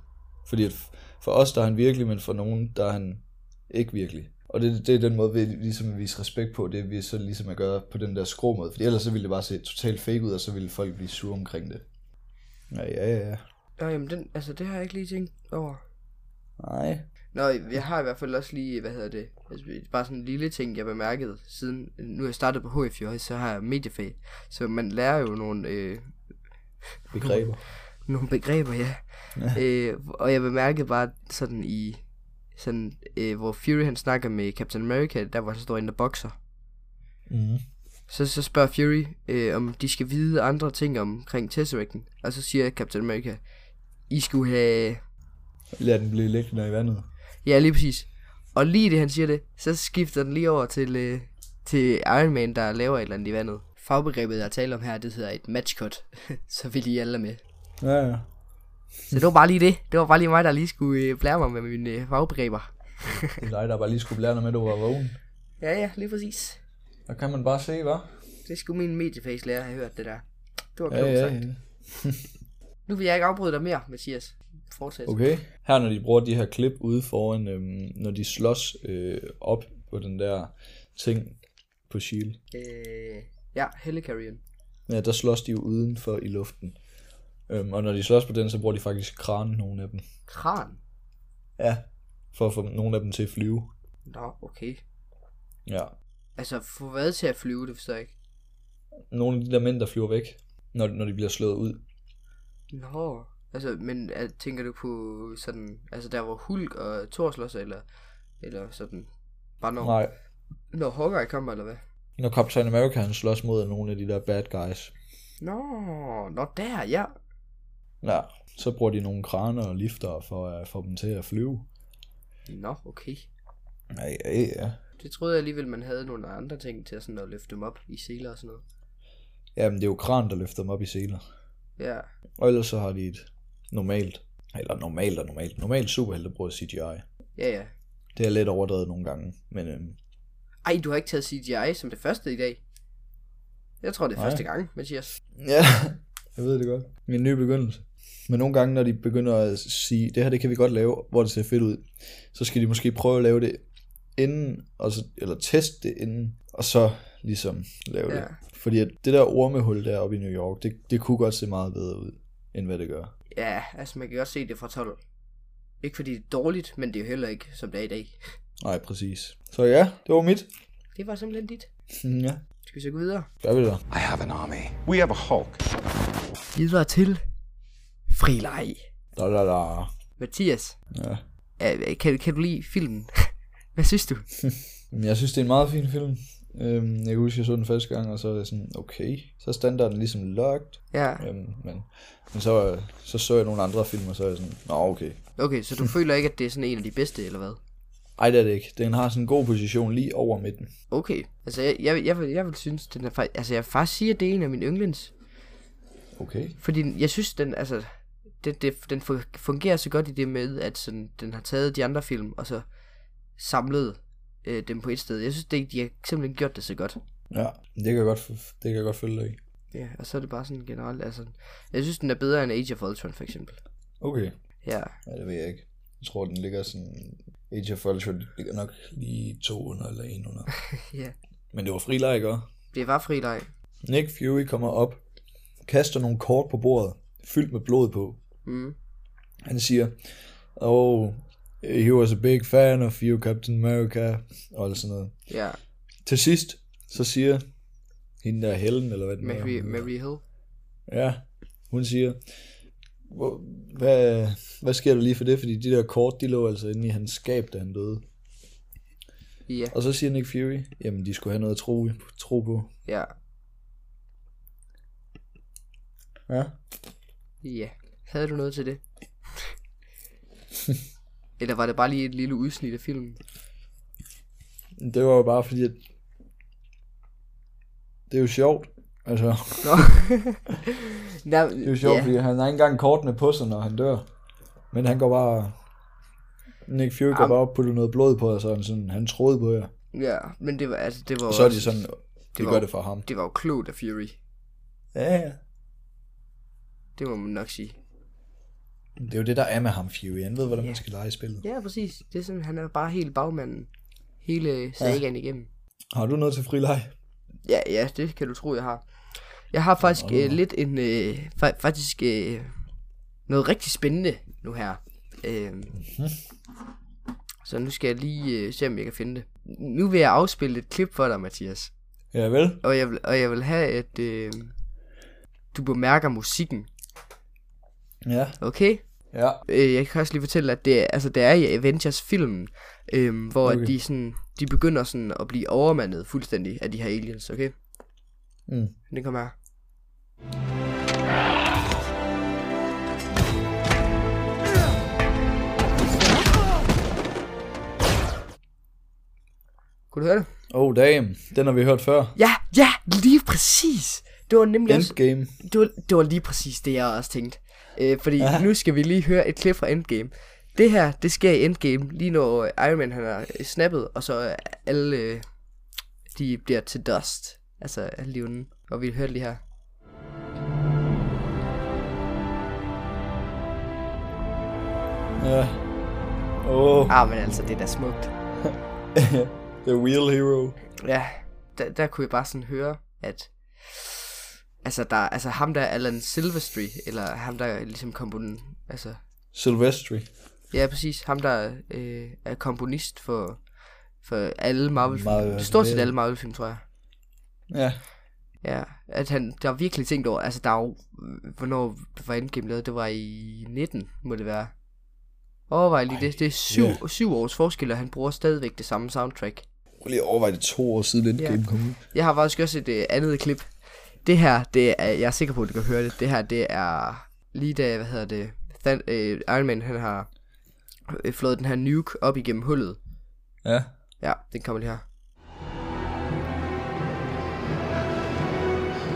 Speaker 2: Fordi at f- for os, der er han virkelig, men for nogen, der er han ikke virkelig. Og Og det, det er den måde, vi ligesom viser respekt på, det vi så ligesom at gøre på den der skrå måde. Fordi ellers så ville det bare se totalt fake ud, og så ville folk blive sure omkring det. Ja, ja, ja.
Speaker 1: Nå, jamen, den, altså, det har jeg ikke lige tænkt over.
Speaker 2: Nej.
Speaker 1: Nå, jeg har i hvert fald også lige, hvad hedder det, altså, bare sådan en lille ting, jeg bemærkede, siden nu jeg startede på HF, jo, så har jeg mediefag, så man lærer jo nogle, øh,
Speaker 2: Begreber.
Speaker 1: nogle begreber, ja. øh, og jeg bemærkede bare sådan i, sådan, øh, hvor Fury han snakker med Captain America, der hvor han står inde og bokser.
Speaker 2: Mm.
Speaker 1: Så, så spørger Fury, øh, om de skal vide andre ting omkring Tesseracten, og så siger Captain America, I skulle have,
Speaker 2: Lad den blive liggende i vandet.
Speaker 1: Ja, lige præcis. Og lige det, han siger det, så skifter den lige over til, øh, til Iron Man, der laver et eller andet i vandet. Fagbegrebet, jeg taler om her, det hedder et matchcut. så vil I alle er med.
Speaker 2: Ja, ja.
Speaker 1: Så det var bare lige det. Det var bare lige mig, der lige skulle øh, blære mig med mine øh, fagbegreber.
Speaker 2: Det er dig, der bare lige skulle blære dig med, at du var vågen.
Speaker 1: Ja, ja, lige præcis.
Speaker 2: Der kan man bare se, hva'?
Speaker 1: Det skulle min mediefacelærer have hørt, det der. Det var
Speaker 2: Ja,
Speaker 1: klogt
Speaker 2: ja,
Speaker 1: sagt.
Speaker 2: ja.
Speaker 1: Nu vil jeg ikke afbryde dig mere, Mathias. Fortsæt.
Speaker 2: Okay. Her når de bruger de her klip ude foran, øhm, når de slås øh, op på den der ting på Shield.
Speaker 1: Øh, ja, Helicarrion.
Speaker 2: Ja, der slås de jo udenfor i luften. Øhm, og når de slås på den, så bruger de faktisk kran, nogle af dem.
Speaker 1: Kran.
Speaker 2: Ja. For at få nogle af dem til at flyve.
Speaker 1: Nå, okay.
Speaker 2: Ja.
Speaker 1: Altså, få hvad til at flyve, det forstår jeg ikke.
Speaker 2: Nogle af de der mænd, der flyver væk, når, når de bliver slået ud.
Speaker 1: Nå, altså, men er, tænker du på sådan, altså der hvor Hulk og Thor slår sig, eller, eller sådan, bare når,
Speaker 2: Nej.
Speaker 1: når Hawkeye kommer, eller hvad?
Speaker 2: Når Captain America han slås mod nogle af de der bad guys.
Speaker 1: Nå, nå der, ja.
Speaker 2: Ja. Så bruger de nogle kraner og lifter for at få dem til at flyve.
Speaker 1: Nå, okay.
Speaker 2: Ja, ja, ja.
Speaker 1: Det troede jeg alligevel, man havde nogle andre ting til sådan at løfte dem op i seler og sådan noget.
Speaker 2: Jamen, det er jo kran, der løfter dem op i seler.
Speaker 1: Ja,
Speaker 2: Og ellers så har de et normalt, eller normalt og normalt, normalt superhelte bruger CGI.
Speaker 1: ja, ja.
Speaker 2: Det er lidt overdrevet nogle gange, men øhm,
Speaker 1: Ej, du har ikke taget CGI som det første i dag. Jeg tror, det er
Speaker 2: Nej.
Speaker 1: første gang, Mathias.
Speaker 2: ja, jeg ved det godt. Min nye begyndelse. Men nogle gange, når de begynder at sige, det her det kan vi godt lave, hvor det ser fedt ud, så skal de måske prøve at lave det inden, og så, eller teste det inden, og så ligesom lave ja.
Speaker 1: Ja.
Speaker 2: det. Fordi at det der ormehul der oppe i New York, det, det kunne godt se meget bedre ud, end hvad det gør.
Speaker 1: Ja, altså man kan godt se det fra 12. Ikke fordi det er dårligt, men det er jo heller ikke, som det er i dag.
Speaker 2: Nej, præcis. Så ja, det var mit.
Speaker 1: Det var simpelthen dit.
Speaker 2: Ja,
Speaker 1: Skal vi så gå videre?
Speaker 2: gør vi det.
Speaker 5: I have an army.
Speaker 3: We have a Hulk.
Speaker 1: videre til frileg.
Speaker 2: Da, da, da.
Speaker 1: Mathias,
Speaker 2: Ja.
Speaker 1: øh, kan, kan du lide filmen? Hvad synes du?
Speaker 2: Jamen, Jeg synes, det er en meget fin film. Øhm, jeg kan huske, jeg så den første gang, og så er jeg sådan, okay. Så er standarden ligesom lagt.
Speaker 1: Ja,
Speaker 2: Øhm, men, men så, så så jeg nogle andre film, og så er jeg sådan, nå okay.
Speaker 1: okay, så du føler ikke, at det er sådan en af de bedste, eller hvad?
Speaker 2: Ej, det er det ikke. Den har sådan en god position lige over midten.
Speaker 1: Okay, altså jeg, jeg, vil- jeg, vil, jeg vil synes, den er faktisk, altså jeg vil faktisk sige, at det er en af mine yndlings.
Speaker 2: Okay.
Speaker 1: Fordi jeg synes, den, altså, det, det, den fu- fungerer så godt i det med, at sådan, den har taget de andre film, og så samlet øh, dem på et sted. Jeg synes, det, de har simpelthen gjort det så godt.
Speaker 2: Ja, det kan jeg godt, f- det kan jeg godt følge dig i.
Speaker 1: Ja, og så er det bare sådan generelt, altså, jeg synes, den er bedre end Age of Ultron, for eksempel.
Speaker 2: Okay.
Speaker 1: Ja,
Speaker 2: Ja, det ved jeg ikke. Jeg tror, den ligger sådan... Age of Ultron ligger nok lige to under eller en under.
Speaker 1: ja.
Speaker 2: Men det var frileg, ikke?
Speaker 1: Det var frileg.
Speaker 2: Nick Fury kommer op, kaster nogle kort på bordet, fyldt med blod på.
Speaker 1: Mm.
Speaker 2: Han siger, oh, he was a big fan of you, Captain America, og alt sådan noget.
Speaker 1: Ja,
Speaker 2: Til sidst, så siger hende der Helen, eller hvad den er, hun
Speaker 1: Mary,
Speaker 2: hedder.
Speaker 1: Mary Hill.
Speaker 2: Ja, hun siger, "Hvor- hvad, hvad sker der lige for det? Fordi de der kort, de lå altså inde i hans skab, da han døde.
Speaker 1: Ja,
Speaker 2: Og så siger Nick Fury, jamen de skulle have noget at tro, tro på.
Speaker 1: ja,
Speaker 2: Ja.
Speaker 1: ja. Havde du noget til det? Eller var det bare lige et lille udsnit af filmen?
Speaker 2: Det var jo bare fordi, at det er jo sjovt. Altså,
Speaker 1: Nå. Nej,
Speaker 2: det er jo sjovt,
Speaker 1: ja.
Speaker 2: yeah. fordi han har ikke engang kortene på sig, når han dør. Men han går bare... Nick Fury går
Speaker 1: Am-
Speaker 2: bare op og putter noget blod på, og så er han sådan, han troede på jer.
Speaker 1: ja, men det var, altså, det var
Speaker 2: Og så er
Speaker 1: også-
Speaker 2: de sådan, de
Speaker 1: var-
Speaker 2: gør det for ham.
Speaker 1: det var jo klogt af Fury.
Speaker 2: Ja, ja.
Speaker 1: Det må man nok sige.
Speaker 2: Det er jo det, der er med ham, Fury. Han ved, hvordan man skal lege spillet.
Speaker 1: Ja, præcis. Det er sådan, han er bare helt bagmanden. hele sagaen ja. igennem.
Speaker 2: Har du noget til frileg?
Speaker 1: Ja, ja, det kan du tro, jeg har. Jeg har faktisk øh, lidt en, øh, fa- faktisk øh, noget rigtig spændende nu her. Øh, så nu skal jeg lige øh, se, om jeg kan finde det. Nu vil jeg afspille et klip for dig, Mathias.
Speaker 2: Ja, vel?
Speaker 1: Og jeg vil, og jeg vil have, at øh, du bemærker musikken,
Speaker 2: Ja.
Speaker 1: okay?
Speaker 2: Ja.
Speaker 1: Øh, jeg kan også lige fortælle, at det er, altså, det er i Avengers-filmen, øh, hvor okay.
Speaker 2: Okay.
Speaker 1: at de, sådan, de begynder sådan at blive overmandet fuldstændig af de her aliens, okay?
Speaker 2: Mm.
Speaker 1: Den kommer her. Kunne du høre det?
Speaker 2: Oh damn, den har vi hørt før.
Speaker 1: Ja, ja, lige præcis. Det var nemlig også,
Speaker 2: Endgame.
Speaker 1: det var, det var lige præcis det, jeg også tænkte. Øh, fordi ja. nu skal vi lige høre et klip fra Endgame. Det her, det sker i Endgame, lige når øh, Iron Man han har øh, snappet, og så øh, alle, øh, de bliver til dust. Altså, alle de onde. Og vi hører det lige her.
Speaker 2: Ja. Åh, oh,
Speaker 1: Ah, men altså, det er da smukt.
Speaker 2: the real hero.
Speaker 1: Ja, der, der kunne jeg bare sådan høre, at... Altså, der, altså ham der Alan Silvestri, eller ham der ligesom komponen, altså...
Speaker 2: Silvestri.
Speaker 1: Ja, præcis, ham der øh, er komponist for, for alle marvel
Speaker 2: Marvel-
Speaker 1: film. Stort set alle marvel film, tror jeg.
Speaker 2: Ja.
Speaker 1: Ja, at han, der er virkelig tænkt over, altså der er jo, øh, hvornår var Endgame lavet, det var i 19, må det være. Overvej lige det, det er syv,
Speaker 2: ja.
Speaker 1: yeah. syv års forskel, og han bruger stadigvæk det samme soundtrack.
Speaker 2: Prøv lige at overveje det to år siden Endgame
Speaker 1: Ja.
Speaker 2: kom ud.
Speaker 1: Jeg har faktisk også et øh, andet klip. Det her, det er, jeg er sikker på, at du kan høre det. Det her, det er lige da, hvad hedder det, Than, øh, Iron Man, han har øh, flået den her nuke op igennem hullet.
Speaker 2: Ja.
Speaker 1: Ja, den kommer lige her.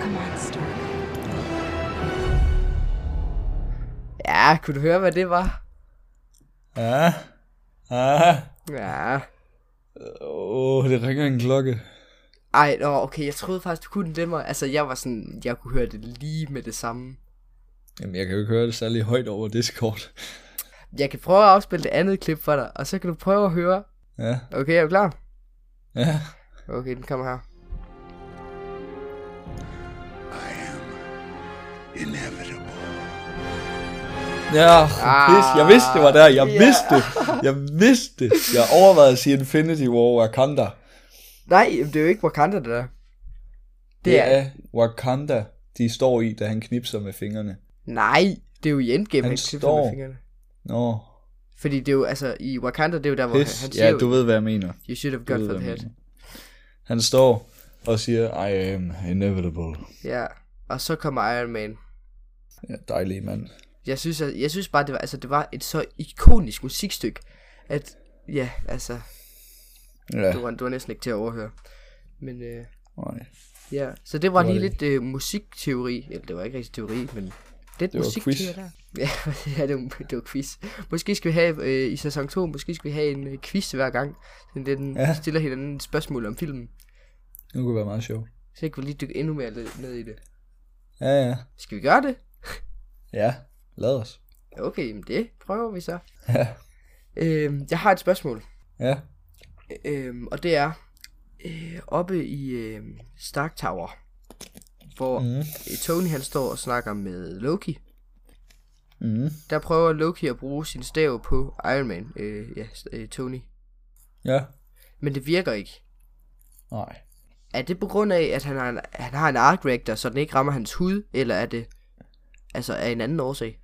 Speaker 6: Come on, Stark.
Speaker 1: Ja, kunne du høre, hvad det var?
Speaker 2: Ja.
Speaker 1: Ah.
Speaker 2: Ja.
Speaker 1: Ja.
Speaker 2: Åh, oh, det ringer en klokke.
Speaker 1: Ej, nå, okay, jeg troede faktisk, du kunne den nemmere. Altså, jeg var sådan, jeg kunne høre det lige med det samme.
Speaker 2: Jamen, jeg kan jo ikke høre det særlig højt over Discord.
Speaker 1: Jeg kan prøve at afspille det andet klip for dig, og så kan du prøve at høre.
Speaker 2: Ja.
Speaker 1: Okay, er du klar?
Speaker 2: Ja.
Speaker 1: Okay, den kommer her.
Speaker 4: I am inevitable.
Speaker 2: Ja,
Speaker 1: Ah.
Speaker 2: pis. Jeg vidste, det var der. Jeg
Speaker 1: Ja.
Speaker 2: vidste det. Jeg vidste det. Jeg overvejede at sige Infinity War Wakanda.
Speaker 1: Nej, jamen, det er jo ikke Wakanda, det der.
Speaker 2: Det er Wakanda, de står i, da han knipser med fingrene.
Speaker 1: Nej, det er jo i Endgame,
Speaker 2: Han
Speaker 1: han, klipper
Speaker 2: står-
Speaker 1: med fingrene.
Speaker 2: Nå,
Speaker 1: Fordi det er jo, altså, i Wakanda, det er jo der, hvor han,
Speaker 2: pis.
Speaker 1: han siger
Speaker 2: Ja,
Speaker 1: jo,
Speaker 2: du ved, hvad jeg mener.
Speaker 1: you should have
Speaker 2: Du
Speaker 1: gone
Speaker 2: ved,
Speaker 1: for the
Speaker 2: hvad jeg
Speaker 1: head.
Speaker 2: mener. Han står og siger, I am inevitable.
Speaker 1: Ja, og så kommer Iron Man.
Speaker 2: Ja, dejlig mand.
Speaker 1: Jeg synes, at, jeg synes bare, det var, altså, det var et så ikonisk musikstykke, at, ja, altså,
Speaker 2: Ja,
Speaker 1: det var, det var næsten ikke til at overhøre. Men, øh,
Speaker 2: nej.
Speaker 1: ja, så det var
Speaker 2: Det var
Speaker 1: lige
Speaker 2: det.
Speaker 1: lidt øh, musikteori. Eller, det var ikke rigtig teori, men lidt
Speaker 2: Det var
Speaker 1: musikteori
Speaker 2: quiz.
Speaker 1: der. Ja, ja det, var, det var quiz. Måske skal vi have, øh, i sæson 2, måske skal vi have en øh, quiz hver gang. Sådan den ja.
Speaker 2: Ja.
Speaker 1: stiller hinanden et spørgsmål om filmen.
Speaker 2: Nu kunne være meget sjovt.
Speaker 1: Så kan vi lige dykke endnu mere ned- ned i det.
Speaker 2: Ja, ja.
Speaker 1: Skal vi gøre det?
Speaker 2: Ja, lad os.
Speaker 1: Okay, jamen det prøver vi så.
Speaker 2: Ja.
Speaker 1: Øhm, jeg har et spørgsmål,
Speaker 2: Ja.
Speaker 1: øhm, og det er øh, oppe i øh, Stark Tower, hvor mm. Tony han står og snakker med Loki.
Speaker 2: Mm.
Speaker 1: Der prøver Loki at bruge sin stav på Iron Man, øh, ja, s- øh, Tony.
Speaker 2: Ja.
Speaker 1: Men det virker ikke.
Speaker 2: Nej.
Speaker 1: Er det på grund af, at han har en, han har en arc reactor, så den ikke rammer hans hud, eller er det altså af en anden årsag?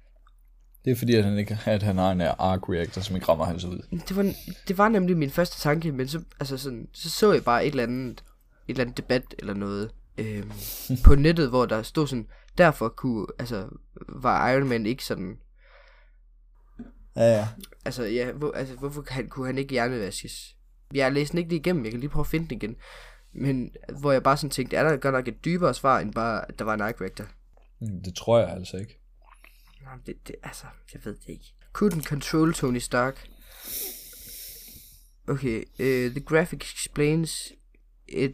Speaker 2: Det er fordi, at han, ikke, at han har en arc reactor, som ikke rammer hans ud.
Speaker 1: Det var, det var nemlig min første tanke, men så, altså sådan, så så jeg bare et eller andet, et eller andet debat eller noget øhm, på nettet, hvor der stod sådan, derfor kunne, altså, var Iron Man ikke sådan,
Speaker 2: Ja, ja.
Speaker 1: altså, ja, hvor, altså hvorfor kan han, kunne han ikke hjernevaskes? Jeg læste den ikke lige igennem, jeg kan lige prøve at finde den igen. Men hvor jeg bare sådan tænkte, er der godt nok et dybere svar, end bare, at der var en arc reactor?
Speaker 2: Mm, Det tror jeg altså ikke.
Speaker 1: Nå, men det, det, altså, jeg ved det ikke. Couldn't control Tony Stark. Okay, uh, the graphic explains it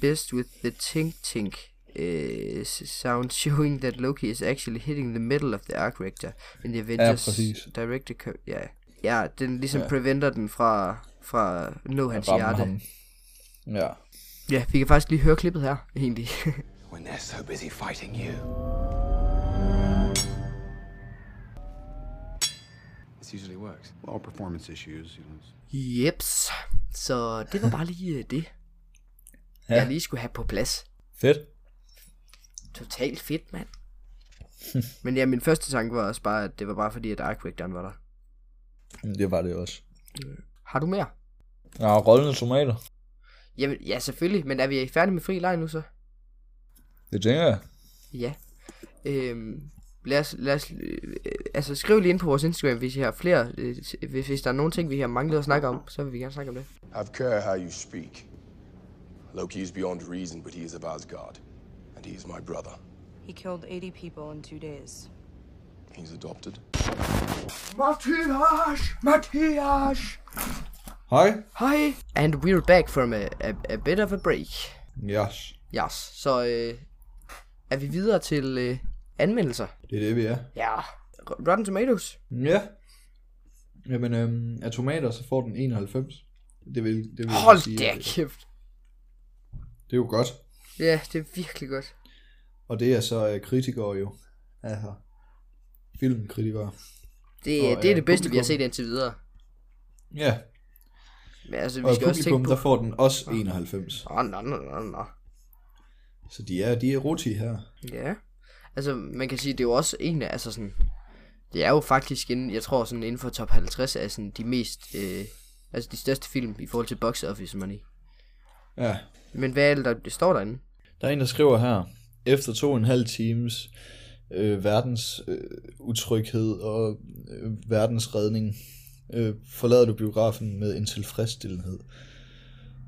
Speaker 1: best with the tink tink uh, s- sound showing that Loki is actually hitting the middle of the arc reactor in the Avengers
Speaker 2: præcis.
Speaker 1: director co- ja. ja, den ligesom preventer den fra, fra Nå hans
Speaker 2: ramme
Speaker 1: hjerte.
Speaker 2: ham. Ja.
Speaker 1: Ja, vi kan faktisk lige høre klippet her, egentlig.
Speaker 5: when they're so busy fighting you. This usually works.
Speaker 3: All performance issues. You know, it's-
Speaker 1: Jeps. Så det var bare lige øh, det,
Speaker 2: Ja.
Speaker 1: jeg lige skulle have på plads.
Speaker 2: Fedt.
Speaker 1: Totalt fedt, mand. Men ja, min første tanke var også bare, at det var bare fordi, at Arkwigdon var der.
Speaker 2: Jamen, Det var det også.
Speaker 1: Har du mere?
Speaker 2: Ja, og rollende tomater.
Speaker 1: Jamen, ja, selvfølgelig, men er vi færdige med fri leg nu så?
Speaker 2: Det tænker jeg.
Speaker 1: Ja. Øhm, lad os, lad os, øh, altså skriv lige ind på vores Instagram, hvis I har flere, øh, hvis, hvis der er nogle ting, vi har manglet at snakke om, så vil vi gerne snakke om det.
Speaker 6: Have care how you speak. Loki is beyond reason, but he is of Asgard. And he is my brother.
Speaker 7: He killed 80 people in two days.
Speaker 6: He's adopted.
Speaker 1: Mathias! Mathias!
Speaker 2: Hej.
Speaker 1: Hej! And we're back from a, a, a bit of a break.
Speaker 2: Yes.
Speaker 1: Yes, så øh, er vi videre til øh, anmeldelser.
Speaker 2: Det er det, vi er.
Speaker 1: Ja. Rotten Tomatoes.
Speaker 2: Ja. Jamen, øhm, af tomater, så får den 91. Det vil, det vil jeg
Speaker 1: Hold
Speaker 2: sige,
Speaker 1: da
Speaker 2: det,
Speaker 1: kæft.
Speaker 2: det er jo godt.
Speaker 1: Ja, det er virkelig godt.
Speaker 2: Og det er så øh, kritikere jo. Altså, filmkritikere.
Speaker 1: Det,
Speaker 2: Og,
Speaker 1: det er
Speaker 2: øh,
Speaker 1: det bedste, vi har
Speaker 2: publikum.
Speaker 1: set indtil videre.
Speaker 2: Ja,
Speaker 1: Men altså,
Speaker 2: og
Speaker 1: vi
Speaker 2: i
Speaker 1: skal også
Speaker 2: publikum,
Speaker 1: tænke på...
Speaker 2: der får den også 91.
Speaker 1: Åh, oh, nå, nå, nå, nå.
Speaker 2: Så de er, de er roti her.
Speaker 1: Ja. Altså, man kan sige, det er jo også en af, altså sådan... Det er jo faktisk, inden, jeg tror sådan inden for top 50 er sådan de mest... Øh, altså de største film i forhold til box office money.
Speaker 2: Ja.
Speaker 1: Men hvad er det, der det står derinde?
Speaker 2: Der er en, der skriver her, efter to og en halv times øh, verdens øh, utryghed og øh, verdens redning, øh, forlader du biografen med en tilfredsstillelse.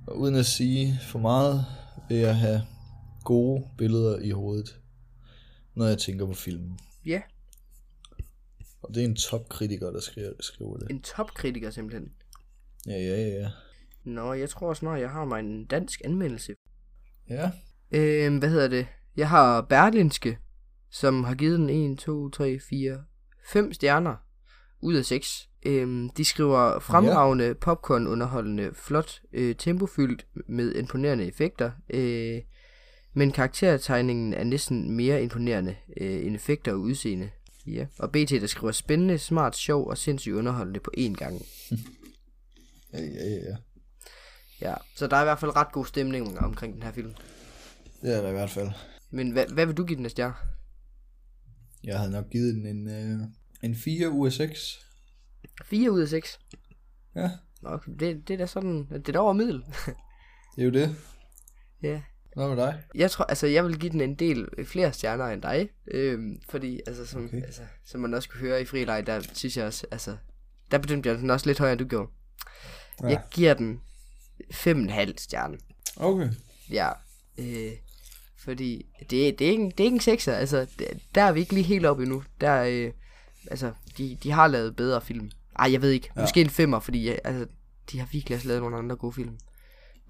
Speaker 2: Og uden at sige for meget, vil jeg have gode billeder i hovedet, når jeg tænker på filmen.
Speaker 1: Ja,
Speaker 2: Og det er en topkritiker, der skriver, skriver det.
Speaker 1: en topkritiker simpelthen.
Speaker 2: Ja, ja, ja, ja.
Speaker 1: Nå, jeg tror snart, jeg har mig en dansk anmeldelse.
Speaker 2: Ja,
Speaker 1: Øhm, hvad hedder det? Jeg har Berlinske, som har givet den 1, 2, 3, 4, 5 stjerner ud af 6. Øhm, de skriver fremragende, yeah. popcorn-underholdende, flot, øh, tempofyldt med imponerende effekter. Øh, men karaktertegningen er næsten mere imponerende øh, end effekter og udseende. Ja. Og BT, der skriver spændende, smart, sjov og sindssygt underholdende på én gang.
Speaker 2: ja, ja, ja, ja.
Speaker 1: Ja. Så der er i hvert fald ret god stemning omkring den her film.
Speaker 2: Det er der i hvert fald.
Speaker 1: Men hvad, hvad vil du give den af stjerne?
Speaker 2: Jeg havde nok givet den en, øh, en 4 ud af 6.
Speaker 1: 4 ud af 6.
Speaker 2: Ja,
Speaker 1: Nå, okay, det, det er da sådan, det er da over middel.
Speaker 2: det er jo det.
Speaker 1: ja.
Speaker 2: Hvad med dig?
Speaker 1: Jeg tror, altså jeg vil give den en del flere stjerner end dig. Øhm, fordi, altså som, okay. altså, som man også kunne høre i frileg, der synes jeg også, altså, der bedømte jeg den også lidt højere, end du gjorde. Ja. Jeg giver den 5,5 stjerne.
Speaker 2: Okay.
Speaker 1: Ja. Øh, fordi det, det, er ikke, en- det er ikke en sekser, altså, det, der er vi ikke lige helt oppe endnu. Der, øh, altså, de, de har lavet bedre film. Ej, jeg ved ikke. Ja. Måske en femmer, fordi jeg, altså, de har virkelig også lavet nogle andre gode film.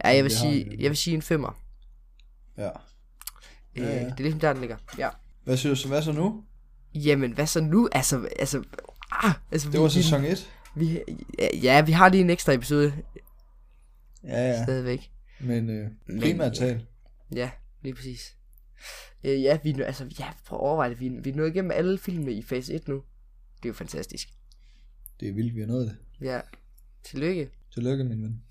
Speaker 1: Ja, jeg vil,
Speaker 2: det har
Speaker 1: sige,
Speaker 2: de
Speaker 1: jeg vil sige en femmer.
Speaker 2: Ja.
Speaker 1: Øh, ja, ja. Det er ligesom der, den ligger. Ja.
Speaker 2: Hvad synes du, hvad så nu?
Speaker 1: Jamen, hvad så nu? Altså, altså, ah, altså
Speaker 2: Det
Speaker 1: vi,
Speaker 2: var sæson 1.
Speaker 1: vi, ja, vi har lige en ekstra episode
Speaker 2: Ja, ja.
Speaker 1: stadigvæk.
Speaker 2: Men øh, primært talt.
Speaker 1: Ja, lige præcis. Øh, ja, vi, er nu- altså, ja, prøv at overveje det. Vi, er- vi er nået igennem alle filmene i fase 1 nu. Det er jo fantastisk.
Speaker 2: Det er vildt, vi har nået det.
Speaker 1: Ja, tillykke.
Speaker 2: Tillykke, min ven.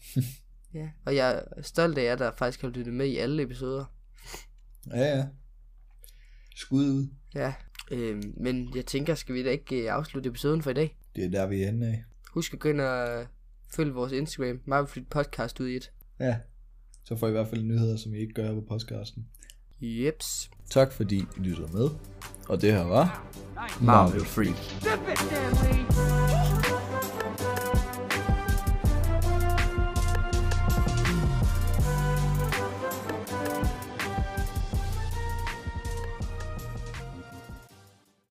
Speaker 1: Ja. Og jeg er stolt af jer, der faktisk har lyttet med i alle episoder.
Speaker 2: Ja, ja. Skud ud.
Speaker 1: Ja. Øh, men jeg tænker, skal vi da ikke øh, afslutte episoden for i dag?
Speaker 2: Det er der, vi er henne af.
Speaker 1: Husk at gå ind og øh, følge vores Instagram, Marvelflyt Podcast ud i et.
Speaker 2: Ja. Så får I i hvert fald nyheder, som I ikke gør på podcasten.
Speaker 1: Jeps.
Speaker 2: Tak fordi I lytter med. Og det her var Marvel Freak.
Speaker 8: Zip it, Stanley!